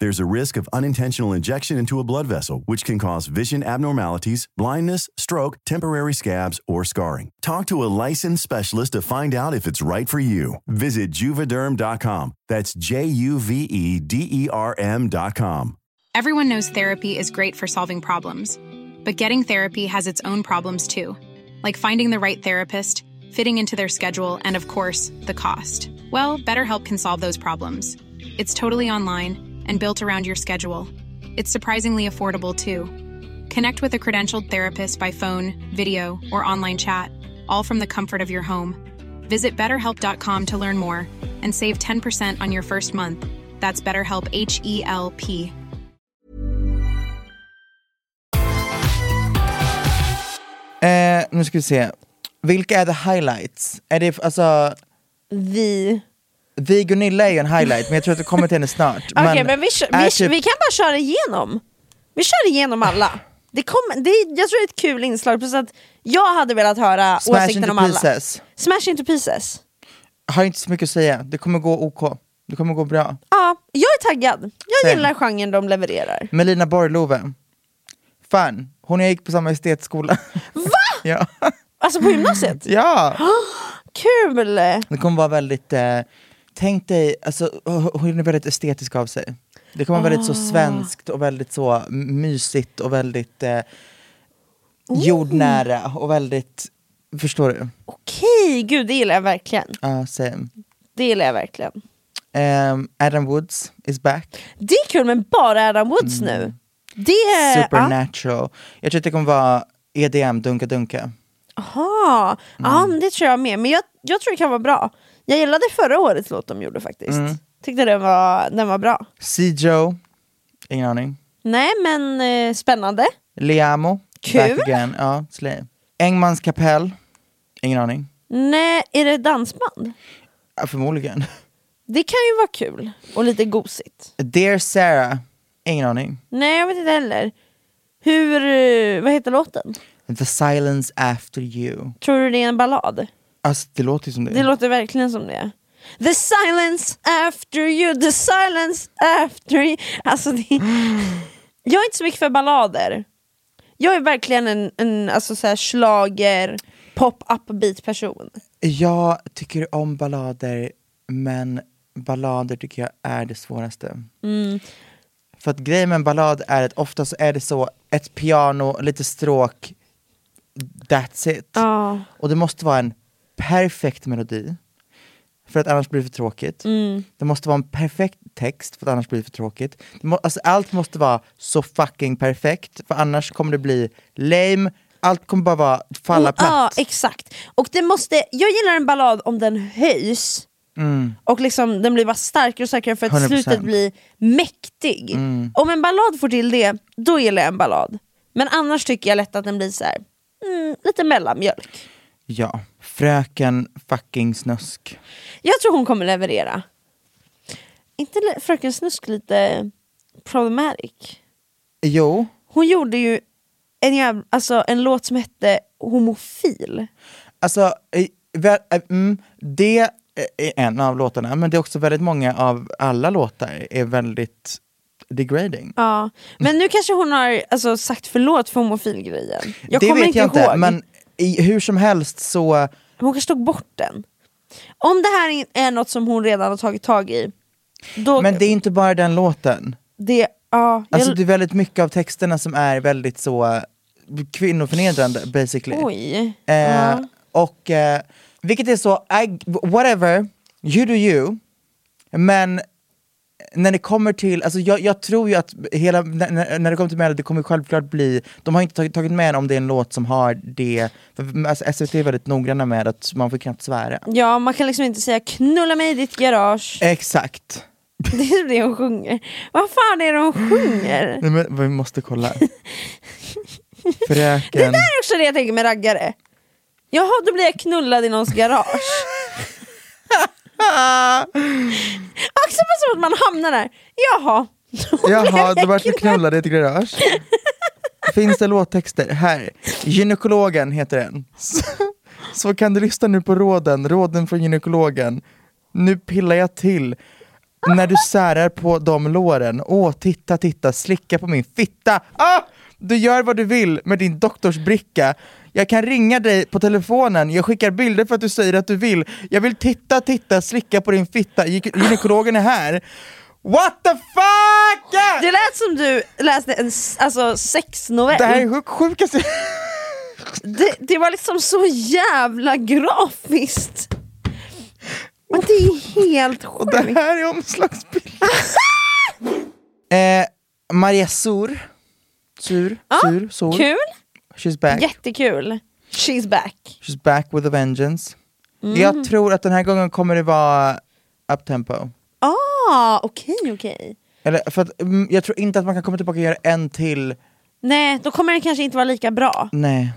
Speaker 4: There's a risk of unintentional injection into a blood vessel, which can cause vision abnormalities, blindness, stroke, temporary scabs, or scarring. Talk to a licensed specialist to find out if it's right for you. Visit juvederm.com. That's J U V E D E R M.com.
Speaker 1: Everyone knows therapy is great for solving problems, but getting therapy has its own problems too, like finding the right therapist, fitting into their schedule, and of course, the cost. Well, BetterHelp can solve those problems. It's totally online and built around your schedule. It's surprisingly affordable too. Connect with a credentialed therapist by phone, video, or online chat, all from the comfort of your home. Visit betterhelp.com to learn more and save 10% on your first month. That's BetterHelp, H E L P.
Speaker 2: Eh, nu ska vi se. Vilka är the highlights? Är det, alltså,
Speaker 3: Vi...
Speaker 2: vi Gunilla är ju en highlight, men jag tror att vi kommer till henne snart.
Speaker 3: Okej men vi, kö-
Speaker 2: är
Speaker 3: vi,
Speaker 2: typ-
Speaker 3: vi kan bara köra igenom. Vi kör igenom alla. Det kom, det, är- jag tror det är ett kul inslag, plus att jag hade velat höra
Speaker 2: Smash
Speaker 3: åsikten
Speaker 2: into
Speaker 3: om alla.
Speaker 2: pieces.
Speaker 3: Smash into pieces.
Speaker 2: Har inte så mycket att säga, det kommer gå OK. Det kommer gå bra.
Speaker 3: Ja, jag är taggad. Jag
Speaker 2: Same.
Speaker 3: gillar genren de levererar.
Speaker 2: Melina Borglove. Fan, hon och jag gick på samma estetskola. Va? ja.
Speaker 3: Alltså på gymnasiet.
Speaker 2: ja.
Speaker 3: Kul!
Speaker 2: Det kommer vara väldigt, eh, tänk dig, alltså, h- hon är väldigt estetisk av sig. Det kommer vara väldigt så svenskt och väldigt så m- mysigt och väldigt eh, jordnära och väldigt, förstår du?
Speaker 3: Okej, gud det gillar jag verkligen.
Speaker 2: Ja, same.
Speaker 3: Det gillar jag verkligen.
Speaker 2: Ehm, Adam Woods is back.
Speaker 3: Det är kul men bara Adam Woods
Speaker 2: Mm.
Speaker 3: nu. Det är...
Speaker 2: Supernatural. Jag tror att det kommer vara EDM, dunka dunka.
Speaker 3: Aha. Ja, men det tror jag med. Men jag, jag tror det kan vara bra. Jag gillade förra årets låt de gjorde faktiskt. Tyckte den var, den var bra.
Speaker 2: Cjo, ingen aning.
Speaker 3: Nej men eh, spännande.
Speaker 2: Liamo,
Speaker 3: Kul.
Speaker 2: back again. Ja, slay. Engmans kapell, ingen aning.
Speaker 3: Nej, är det dansband?
Speaker 2: Ja, förmodligen.
Speaker 3: Det kan ju vara kul och lite gosigt.
Speaker 2: Dear Sarah, ingen aning.
Speaker 3: Nej jag vet inte heller. Hur, eh, vad heter låten?
Speaker 2: The silence after you.
Speaker 3: Tror du det är en ballad?
Speaker 2: Alltså det låter ju som det.
Speaker 3: Det låter verkligen som det. The silence after you, the silence after you. Alltså det... Jag är inte så mycket för ballader. Jag är verkligen en, en alltså så här schlager, pop-up-beat person.
Speaker 2: Jag tycker om ballader, men ballader tycker jag är det svåraste. För att grejen med en ballad är att ofta så är det så, ett piano, lite stråk, that's it.
Speaker 3: Ja.
Speaker 2: Och det måste vara en perfekt melodi, för att annars blir det för tråkigt. Det måste vara en perfekt text, för att annars blir det för tråkigt. Det må, alltså, allt måste vara så fucking perfekt, för annars kommer det bli lame, allt kommer bara vara falla platt.
Speaker 3: Ja, exakt. Och det måste, jag gillar en ballad om den höjs och liksom, den blir bara starkare och starkare för att
Speaker 2: 100%.
Speaker 3: slutet blir mäktig. Om en ballad får till det, då gillar jag en ballad. Men annars tycker jag lätt att den blir så här, mm, lite mellanmjölk.
Speaker 2: Ja, fröken fucking snusk.
Speaker 3: Jag tror hon kommer leverera. inte le- Fröken Snusk lite problematic?
Speaker 2: Jo,
Speaker 3: Hon gjorde ju en, jävla, alltså, en låt som hette Homofil.
Speaker 2: alltså eh, väl, eh, mm, det är en av låtarna, men det är också väldigt många av alla låtar är väldigt degrading.
Speaker 3: Ja, men nu kanske hon har alltså, sagt förlåt för homofilgrejen. Jag
Speaker 2: det
Speaker 3: kommer
Speaker 2: vet
Speaker 3: inte
Speaker 2: jag
Speaker 3: ihåg.
Speaker 2: men i, hur som helst så,
Speaker 3: Hon kanske tog bort den. Om det här är något som hon redan har tagit tag i, då...
Speaker 2: Men det är inte bara den låten.
Speaker 3: det, ja, jag,
Speaker 2: Alltså det är väldigt mycket av texterna som är väldigt så eh, kvinnoförnedrande basically.
Speaker 3: Oj.
Speaker 2: Eh,
Speaker 3: Ja.
Speaker 2: Och eh, vilket är så, I, whatever, you do you. Men när det kommer till, alltså jag, jag tror ju att hela, när, när- när det kommer till Melody, det kommer självklart bli, de har inte tagit, tagit med om det är en låt som har det, för, alltså, SVT är väldigt noggranna med att man får knappt svära.
Speaker 3: ja, man kan liksom inte säga 'knulla mig i ditt garage'
Speaker 2: Exakt.
Speaker 3: Det är ju det hon sjunger. Vad fan är det hon sjunger?
Speaker 2: Nej, men, vi måste kolla. Fröken.
Speaker 3: Det där är också det jag tänker med raggare. Jaha, då blir jag knullad i någons garage. Också bara som att man hamnar där. Jaha. då blir
Speaker 2: Jaha,
Speaker 3: jag
Speaker 2: du vart
Speaker 3: knullad.
Speaker 2: förknullad i ett garage. Finns det låttexter? Här. Gynekologen heter den. Så, så kan du lyssna nu på råden, råden från gynekologen. Nu pillar jag till. När du särar på de låren. Åh, titta, titta, slicka på min fitta. Ah! Du gör vad du vill med din doktorsbricka. Jag kan ringa dig på telefonen, jag skickar bilder för att du säger att du vill. Jag vill titta, titta, slicka på din fitta. Gy- Gynekologen är här. What the fuck!
Speaker 3: Det lät som du läste en s- alltså, sexnovell.
Speaker 2: Det
Speaker 3: Det,
Speaker 2: här är sjuk, sjukaste...
Speaker 3: det, var liksom så jävla grafiskt. Men det är helt
Speaker 2: Och det
Speaker 3: sjukt.
Speaker 2: här är omslagsbilden. eh, Maria Sur. Sur, sur, sur.
Speaker 3: Kul,
Speaker 2: She's back.
Speaker 3: jättekul. She's back.
Speaker 2: She's back with a vengeance. Jag tror att den här gången kommer det vara uptempo.
Speaker 3: Ah, okej okej.
Speaker 2: Eller, för att, mm, jag tror inte att man kan komma tillbaka och göra en till.
Speaker 3: Nej, då kommer den kanske inte vara lika bra.
Speaker 2: Nej.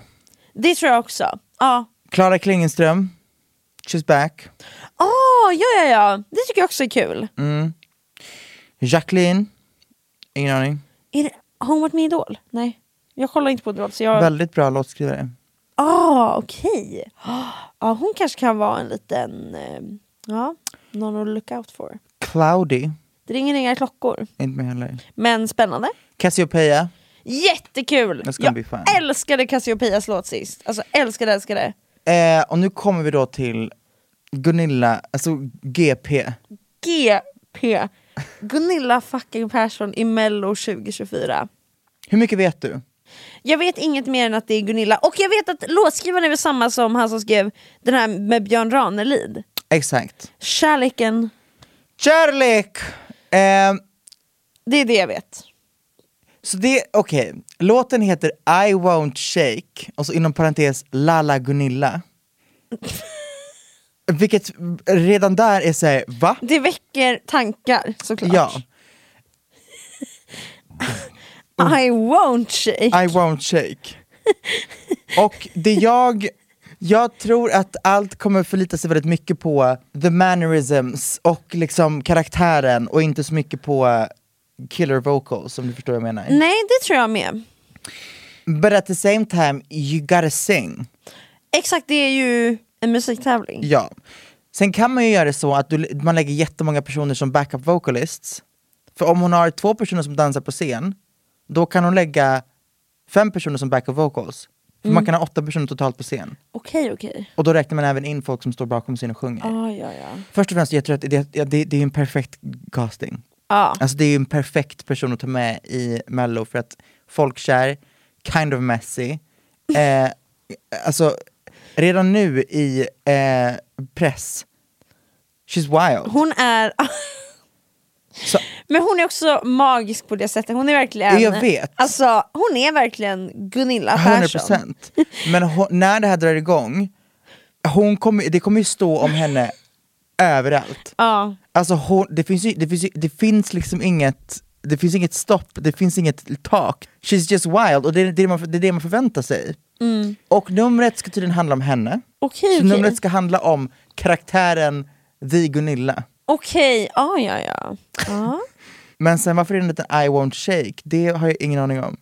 Speaker 3: Det tror jag också. Ja.
Speaker 2: Klara Klingenström. She's back.
Speaker 3: Ah, ja, ja, ja. Det tycker jag också är kul.
Speaker 2: Jacqueline. Ingen aning.
Speaker 3: Är det, har hon varit med i Idol? Nej. Jag kollar inte på Idol. Så jag...
Speaker 2: Väldigt bra låtskrivare.
Speaker 3: Ah, okej. Ah, Ja, hon kanske kan vara en liten... Eh, ja, någon att look out for.
Speaker 2: Cloudy.
Speaker 3: Det ringer inga klockor.
Speaker 2: Inte med heller.
Speaker 3: Men spännande.
Speaker 2: Cassiopeia.
Speaker 3: Jättekul!
Speaker 2: That's gonna
Speaker 3: Jag
Speaker 2: be fun.
Speaker 3: älskade Cassiopeias låt sist. Alltså älskade, älskade.
Speaker 2: Eh, och nu kommer vi då till Gunilla, alltså GP.
Speaker 3: GP. Gunilla fucking Persson i Mello 2024.
Speaker 2: Hur mycket vet du?
Speaker 3: Jag vet inget mer än att det är Gunilla. Och jag vet att låtskrivaren är väl samma som han som skrev den här med Björn Ranelid.
Speaker 2: Exakt.
Speaker 3: Kärleken,
Speaker 2: Kärlek! Eh,
Speaker 3: det är det jag vet.
Speaker 2: så det, okej. Låten heter I won't shake, och så inom parentes Lala Gunilla. Vilket redan där är såhär, va?
Speaker 3: Det väcker tankar såklart.
Speaker 2: Ja,
Speaker 3: Mm. I won't shake.
Speaker 2: I won't shake. Och det jag, jag tror att allt kommer förlita sig väldigt mycket på the mannerisms och liksom karaktären och inte så mycket på killer vocals om du förstår vad jag menar.
Speaker 3: Nej, det tror jag med.
Speaker 2: But at the same time, you gotta sing.
Speaker 3: Exakt, det är ju en musiktävling.
Speaker 2: Ja. Sen kan man ju göra det så att du, man lägger jättemånga personer som backup vocalists. För om hon har två personer som dansar på scen, då kan hon lägga fem personer som backup vocals. För man kan ha åtta personer totalt på scen.
Speaker 3: Okej, okej.
Speaker 2: Och då räknar man även in folk som står bakom scenen och sjunger.
Speaker 3: Ah, ja, ja.
Speaker 2: Först och främst, jag tror att det, det, det, det är en perfekt casting.
Speaker 3: Ja.
Speaker 2: Alltså det är ju en perfekt person att ta med i mello för att folkkär, kind of messy. Eh, alltså redan nu i eh, press, she's wild.
Speaker 3: Hon är...
Speaker 2: Så,
Speaker 3: Men hon är också magisk på det sättet. Hon är verkligen...
Speaker 2: Jag vet.
Speaker 3: Alltså, hon är verkligen Gunilla Persson.
Speaker 2: 100%. Men hon, när det här drar igång, hon kommer, det kommer ju stå om henne överallt.
Speaker 3: Ja.
Speaker 2: Alltså hon, det, finns ju, det, finns ju, det finns liksom inget det finns inget stopp, det finns inget tak. She's just wild och det är det är man, det, är det man förväntar sig. Och numret ska tydligen handla om henne.
Speaker 3: Okej,
Speaker 2: Så
Speaker 3: Mm. okej.
Speaker 2: numret ska handla om karaktären The Gunilla.
Speaker 3: Okej, ah, ja, ja. ja.
Speaker 2: Men sen varför är det en liten I won't shake? Det har jag ingen aning om.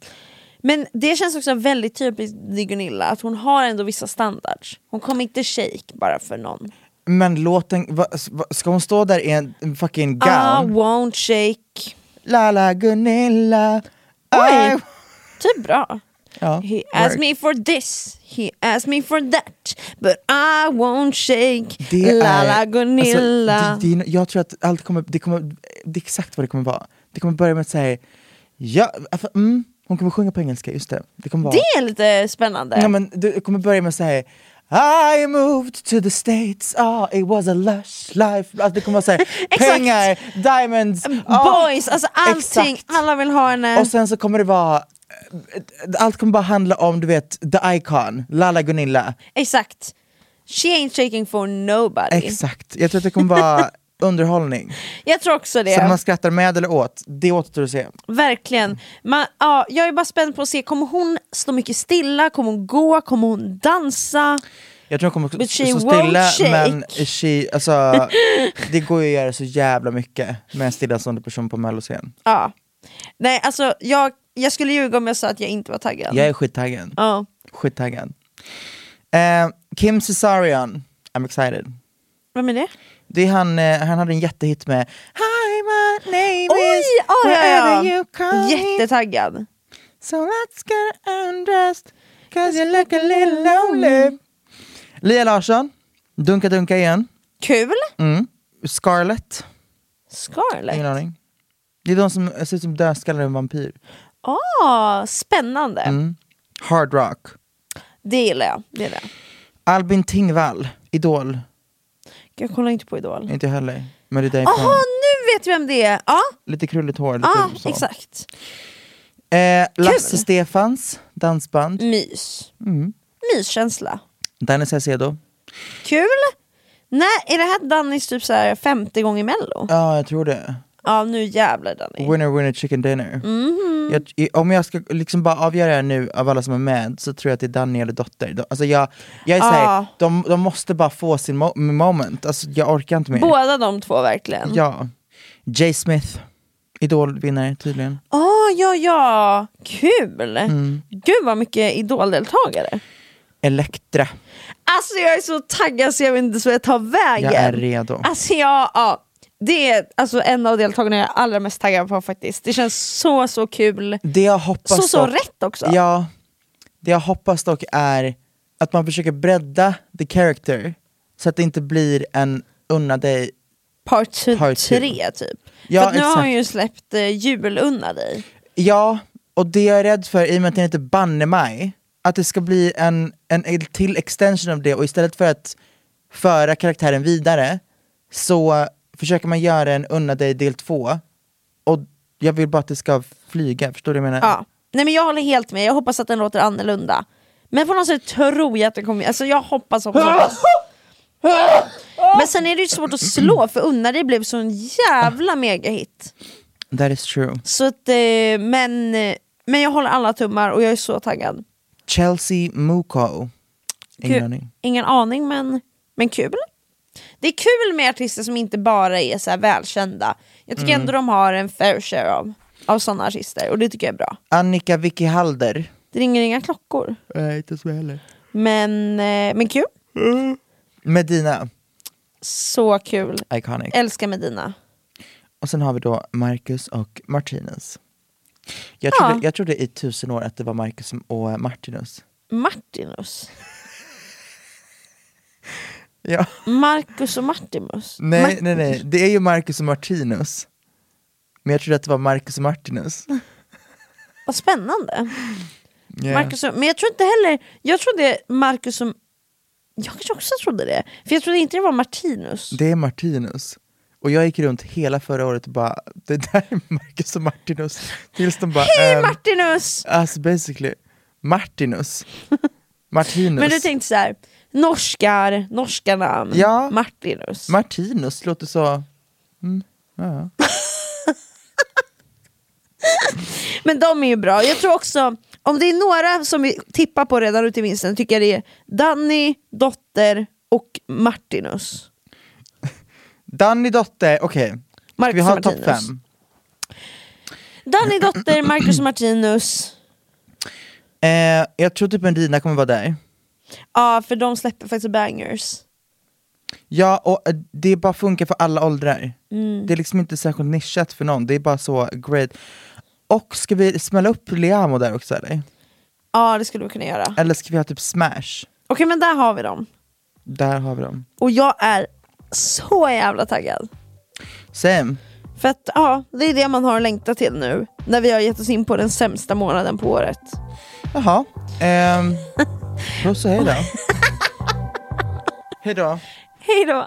Speaker 3: Men det känns också väldigt typiskt i Gunilla att hon har ändå vissa standards. Hon kommer inte shake bara för någon.
Speaker 2: Men låten, va, va, ska hon stå där i en en fucking
Speaker 3: Ah,
Speaker 2: gown?
Speaker 3: won't shake.
Speaker 2: La la Gunilla,
Speaker 3: Oj.
Speaker 2: I
Speaker 3: Typ bra.
Speaker 2: Ah. Ja,
Speaker 3: He asked
Speaker 2: work.
Speaker 3: me for this, he asked me for that, but I won't shake.
Speaker 2: Det
Speaker 3: la
Speaker 2: är,
Speaker 3: la Gunilla.
Speaker 2: Alltså, det, det, är- jag tror att allt kommer, det kommer, det är exakt vad det kommer vara. Det kommer börja med att säga, ja, för- mm, hon kommer sjunga på engelska, just det. Det kommer vara...
Speaker 3: Det är lite spännande.
Speaker 2: Ja, men du kommer börja med att säga I moved to the States, ah it was a lush life. Alltså, det kommer vara såhär,
Speaker 3: Exakt.
Speaker 2: pengar, diamonds, ah.
Speaker 3: Boys, alltså allting, Mm.
Speaker 2: Exakt.
Speaker 3: alla vill ha henne.
Speaker 2: Och sen så kommer det vara, eh, allt kommer bara handla om du vet, the icon, Lala Gunilla.
Speaker 3: Exakt. She ain't shaking for nobody.
Speaker 2: Exakt, jag tror att det kommer vara underhållning.
Speaker 3: Jag tror också det.
Speaker 2: Så om man skrattar med eller åt, det återstår att se.
Speaker 3: Verkligen. Man, ja, jag är bara spänd på att se, kommer hon stå mycket stilla? Kommer hon gå? Kommer hon dansa?
Speaker 2: Jag tror hon kommer
Speaker 3: But she
Speaker 2: stå
Speaker 3: won't
Speaker 2: stilla
Speaker 3: shake.
Speaker 2: men she, alltså, det går ju att göra så jävla mycket med en stillastående person på melloscen.
Speaker 3: Ja. Nej, alltså jag, jag skulle ljuga om jag sa att jag inte var taggad.
Speaker 2: Jag är skittaggad.
Speaker 3: Ja.
Speaker 2: Skittaggad. Eh, Kim Cesarion, I'm excited.
Speaker 3: Vem är det?
Speaker 2: Det är han, eh, han hade en jättehit med Hi my name
Speaker 3: Oj!
Speaker 2: is
Speaker 3: Ja, ja,
Speaker 2: wherever you
Speaker 3: ja.
Speaker 2: call me
Speaker 3: Jättetaggad.
Speaker 2: So let's get undressed Cause you look a
Speaker 3: Mm.
Speaker 2: little lonely Lia Larsson, Dunka Dunka igen.
Speaker 3: Kul!
Speaker 2: Mm. Scarlett,
Speaker 3: Scarlett.
Speaker 2: ingen aning. Det är de som ser ut som dödskallar och en vampyr.
Speaker 3: Ah, spännande.
Speaker 2: Mm. Hard rock.
Speaker 3: Det gillar jag. Det gillar jag.
Speaker 2: Albin Tingvall, Idol.
Speaker 3: jag kollar inte på Idol.
Speaker 2: Inte jag heller. Men det är därifrån.
Speaker 3: Jaha, nu vet vi vem det är! Ja,
Speaker 2: Lite krulligt hår. Lite
Speaker 3: ja
Speaker 2: typ så.
Speaker 3: Ah, exakt.
Speaker 2: Eh, Lasse
Speaker 3: Kul. Mm.
Speaker 2: Stefans dansband.
Speaker 3: Mys.
Speaker 2: Mm.
Speaker 3: Myskänsla.
Speaker 2: Danny Saucedo.
Speaker 3: Kul! Nej, är det här Dannys typ så här 50 gånger mello?
Speaker 2: Ja, jag tror det.
Speaker 3: Ja, nu jävlar Danny.
Speaker 2: Winner winner chicken dinner.
Speaker 3: Mm-hmm.
Speaker 2: Jag, i- om jag ska liksom bara avgöra det nu av alla som är med så tror jag att det är Danny eller Dotter. De- Alltså jag, jag är såhär,
Speaker 3: Ah.
Speaker 2: de, de måste bara få sin mo- moment. Alltså jag orkar inte mer.
Speaker 3: Båda de två verkligen. Ja,
Speaker 2: Ja. Jay Smith, idolvinnare tydligen.
Speaker 3: ja, ja. Kul!
Speaker 2: Mm.
Speaker 3: Gud vad mycket idoldeltagare.
Speaker 2: Elektra.
Speaker 3: Alltså jag är så taggad så jag vet inte så jag tar vägen.
Speaker 2: Jag är redo.
Speaker 3: Alltså jag, ja. Det är alltså en av deltagarna jag är allra mest taggad på faktiskt. Det känns så så kul.
Speaker 2: Det jag hoppas
Speaker 3: Så så
Speaker 2: dock-
Speaker 3: rätt också.
Speaker 2: Ja, det jag hoppas dock är att man försöker bredda the character så att det inte blir en unna dig.
Speaker 3: Part t-
Speaker 2: Part two.
Speaker 3: tre typ.
Speaker 2: Ja,
Speaker 3: För att nu har
Speaker 2: exakt.
Speaker 3: hon ju släppt eh, Julunna dig.
Speaker 2: Ja, och det jag är rädd för i och med att den heter Banne mig, att det ska bli en, en till extension av det och istället för att föra karaktären vidare så försöker man göra en unna dig del två och jag vill bara att det ska flyga, förstår du vad jag menar?
Speaker 3: Ja. Nej men jag håller helt med, jag hoppas att den låter annorlunda. Men på något sätt tror jag att den kommer, alltså jag hoppas, hoppas, hoppas. Men sen är det ju svårt att slå för Unna dig blev så en jävla megahit.
Speaker 2: That is true.
Speaker 3: Så att, eh, men, men jag håller alla tummar och jag är så taggad.
Speaker 2: Chelsea Muko. Ingen
Speaker 3: Kul.
Speaker 2: aning.
Speaker 3: Ingen aning men, men kul. Det är kul med artister som inte bara är så här välkända. Jag
Speaker 2: Mm.
Speaker 3: tycker ändå de har en fair share av, av sådana artister och det tycker jag är bra.
Speaker 2: Annika Vicky Halder.
Speaker 3: Det ringer inga klockor.
Speaker 2: Nej, inte så heller.
Speaker 3: Men, eh, men kul.
Speaker 2: Medina,
Speaker 3: Så kul.
Speaker 2: iconic.
Speaker 3: Älskar Medina.
Speaker 2: och sen har vi då Marcus och Martinus. Jag trodde,
Speaker 3: Ja.
Speaker 2: jag trodde i tusen år att det var Marcus och Martinus.
Speaker 3: Martinus.
Speaker 2: Ja.
Speaker 3: Marcus och Martimus.
Speaker 2: Nej,
Speaker 3: Mart-
Speaker 2: nej, nej. Det är ju Marcus och Martinus. Men jag trodde att det var Marcus och Martinus.
Speaker 3: Vad spännande.
Speaker 2: Ja.
Speaker 3: Marcus och, men jag tror inte heller, jag trodde Marcus och... Jag kanske också trodde det. För jag trodde inte det var Martinus.
Speaker 2: Det är Martinus. Och jag gick runt hela förra året och bara, det där är Marcus och Martinus. Tills de bara,
Speaker 3: Hej
Speaker 2: ehm,
Speaker 3: Martinus!
Speaker 2: Alltså basically, Martinus. Martinus.
Speaker 3: Men du tänkte så här, norskar, norska namn,
Speaker 2: Ja.
Speaker 3: Martinus.
Speaker 2: Martinus låter så...
Speaker 3: men de är ju bra. Jag tror också, om det är några som vi tippar på redan ute i vinsten, tycker jag det är Danny, Dotter och Martinus.
Speaker 2: Danny Dotter, okej. Ska
Speaker 3: Marcus
Speaker 2: vi ha
Speaker 3: och
Speaker 2: topp
Speaker 3: Martinus.
Speaker 2: fem?
Speaker 3: Danny, Dotter, Marcus och Martinus.
Speaker 2: Eh, jag tror typ Medina kommer vara där.
Speaker 3: Ja, för de släpper faktiskt bangers.
Speaker 2: Ja, och eh, det bara funkar för alla åldrar. Det är liksom inte särskilt nischat för någon, det är bara så great. Och ska vi smälla upp Liamo där också eller?
Speaker 3: Ja, det skulle vi kunna göra. Okej,
Speaker 2: Eller ska vi ha typ smash?
Speaker 3: men där har vi dem.
Speaker 2: Där har vi dem.
Speaker 3: Och jag är så jävla taggad.
Speaker 2: Same.
Speaker 3: För att ja, det är det man har att längta till nu. När vi har gett oss in på den sämsta månaden på året.
Speaker 2: Jaha. Ehm, puss och hej då. hej då.
Speaker 3: Hej då!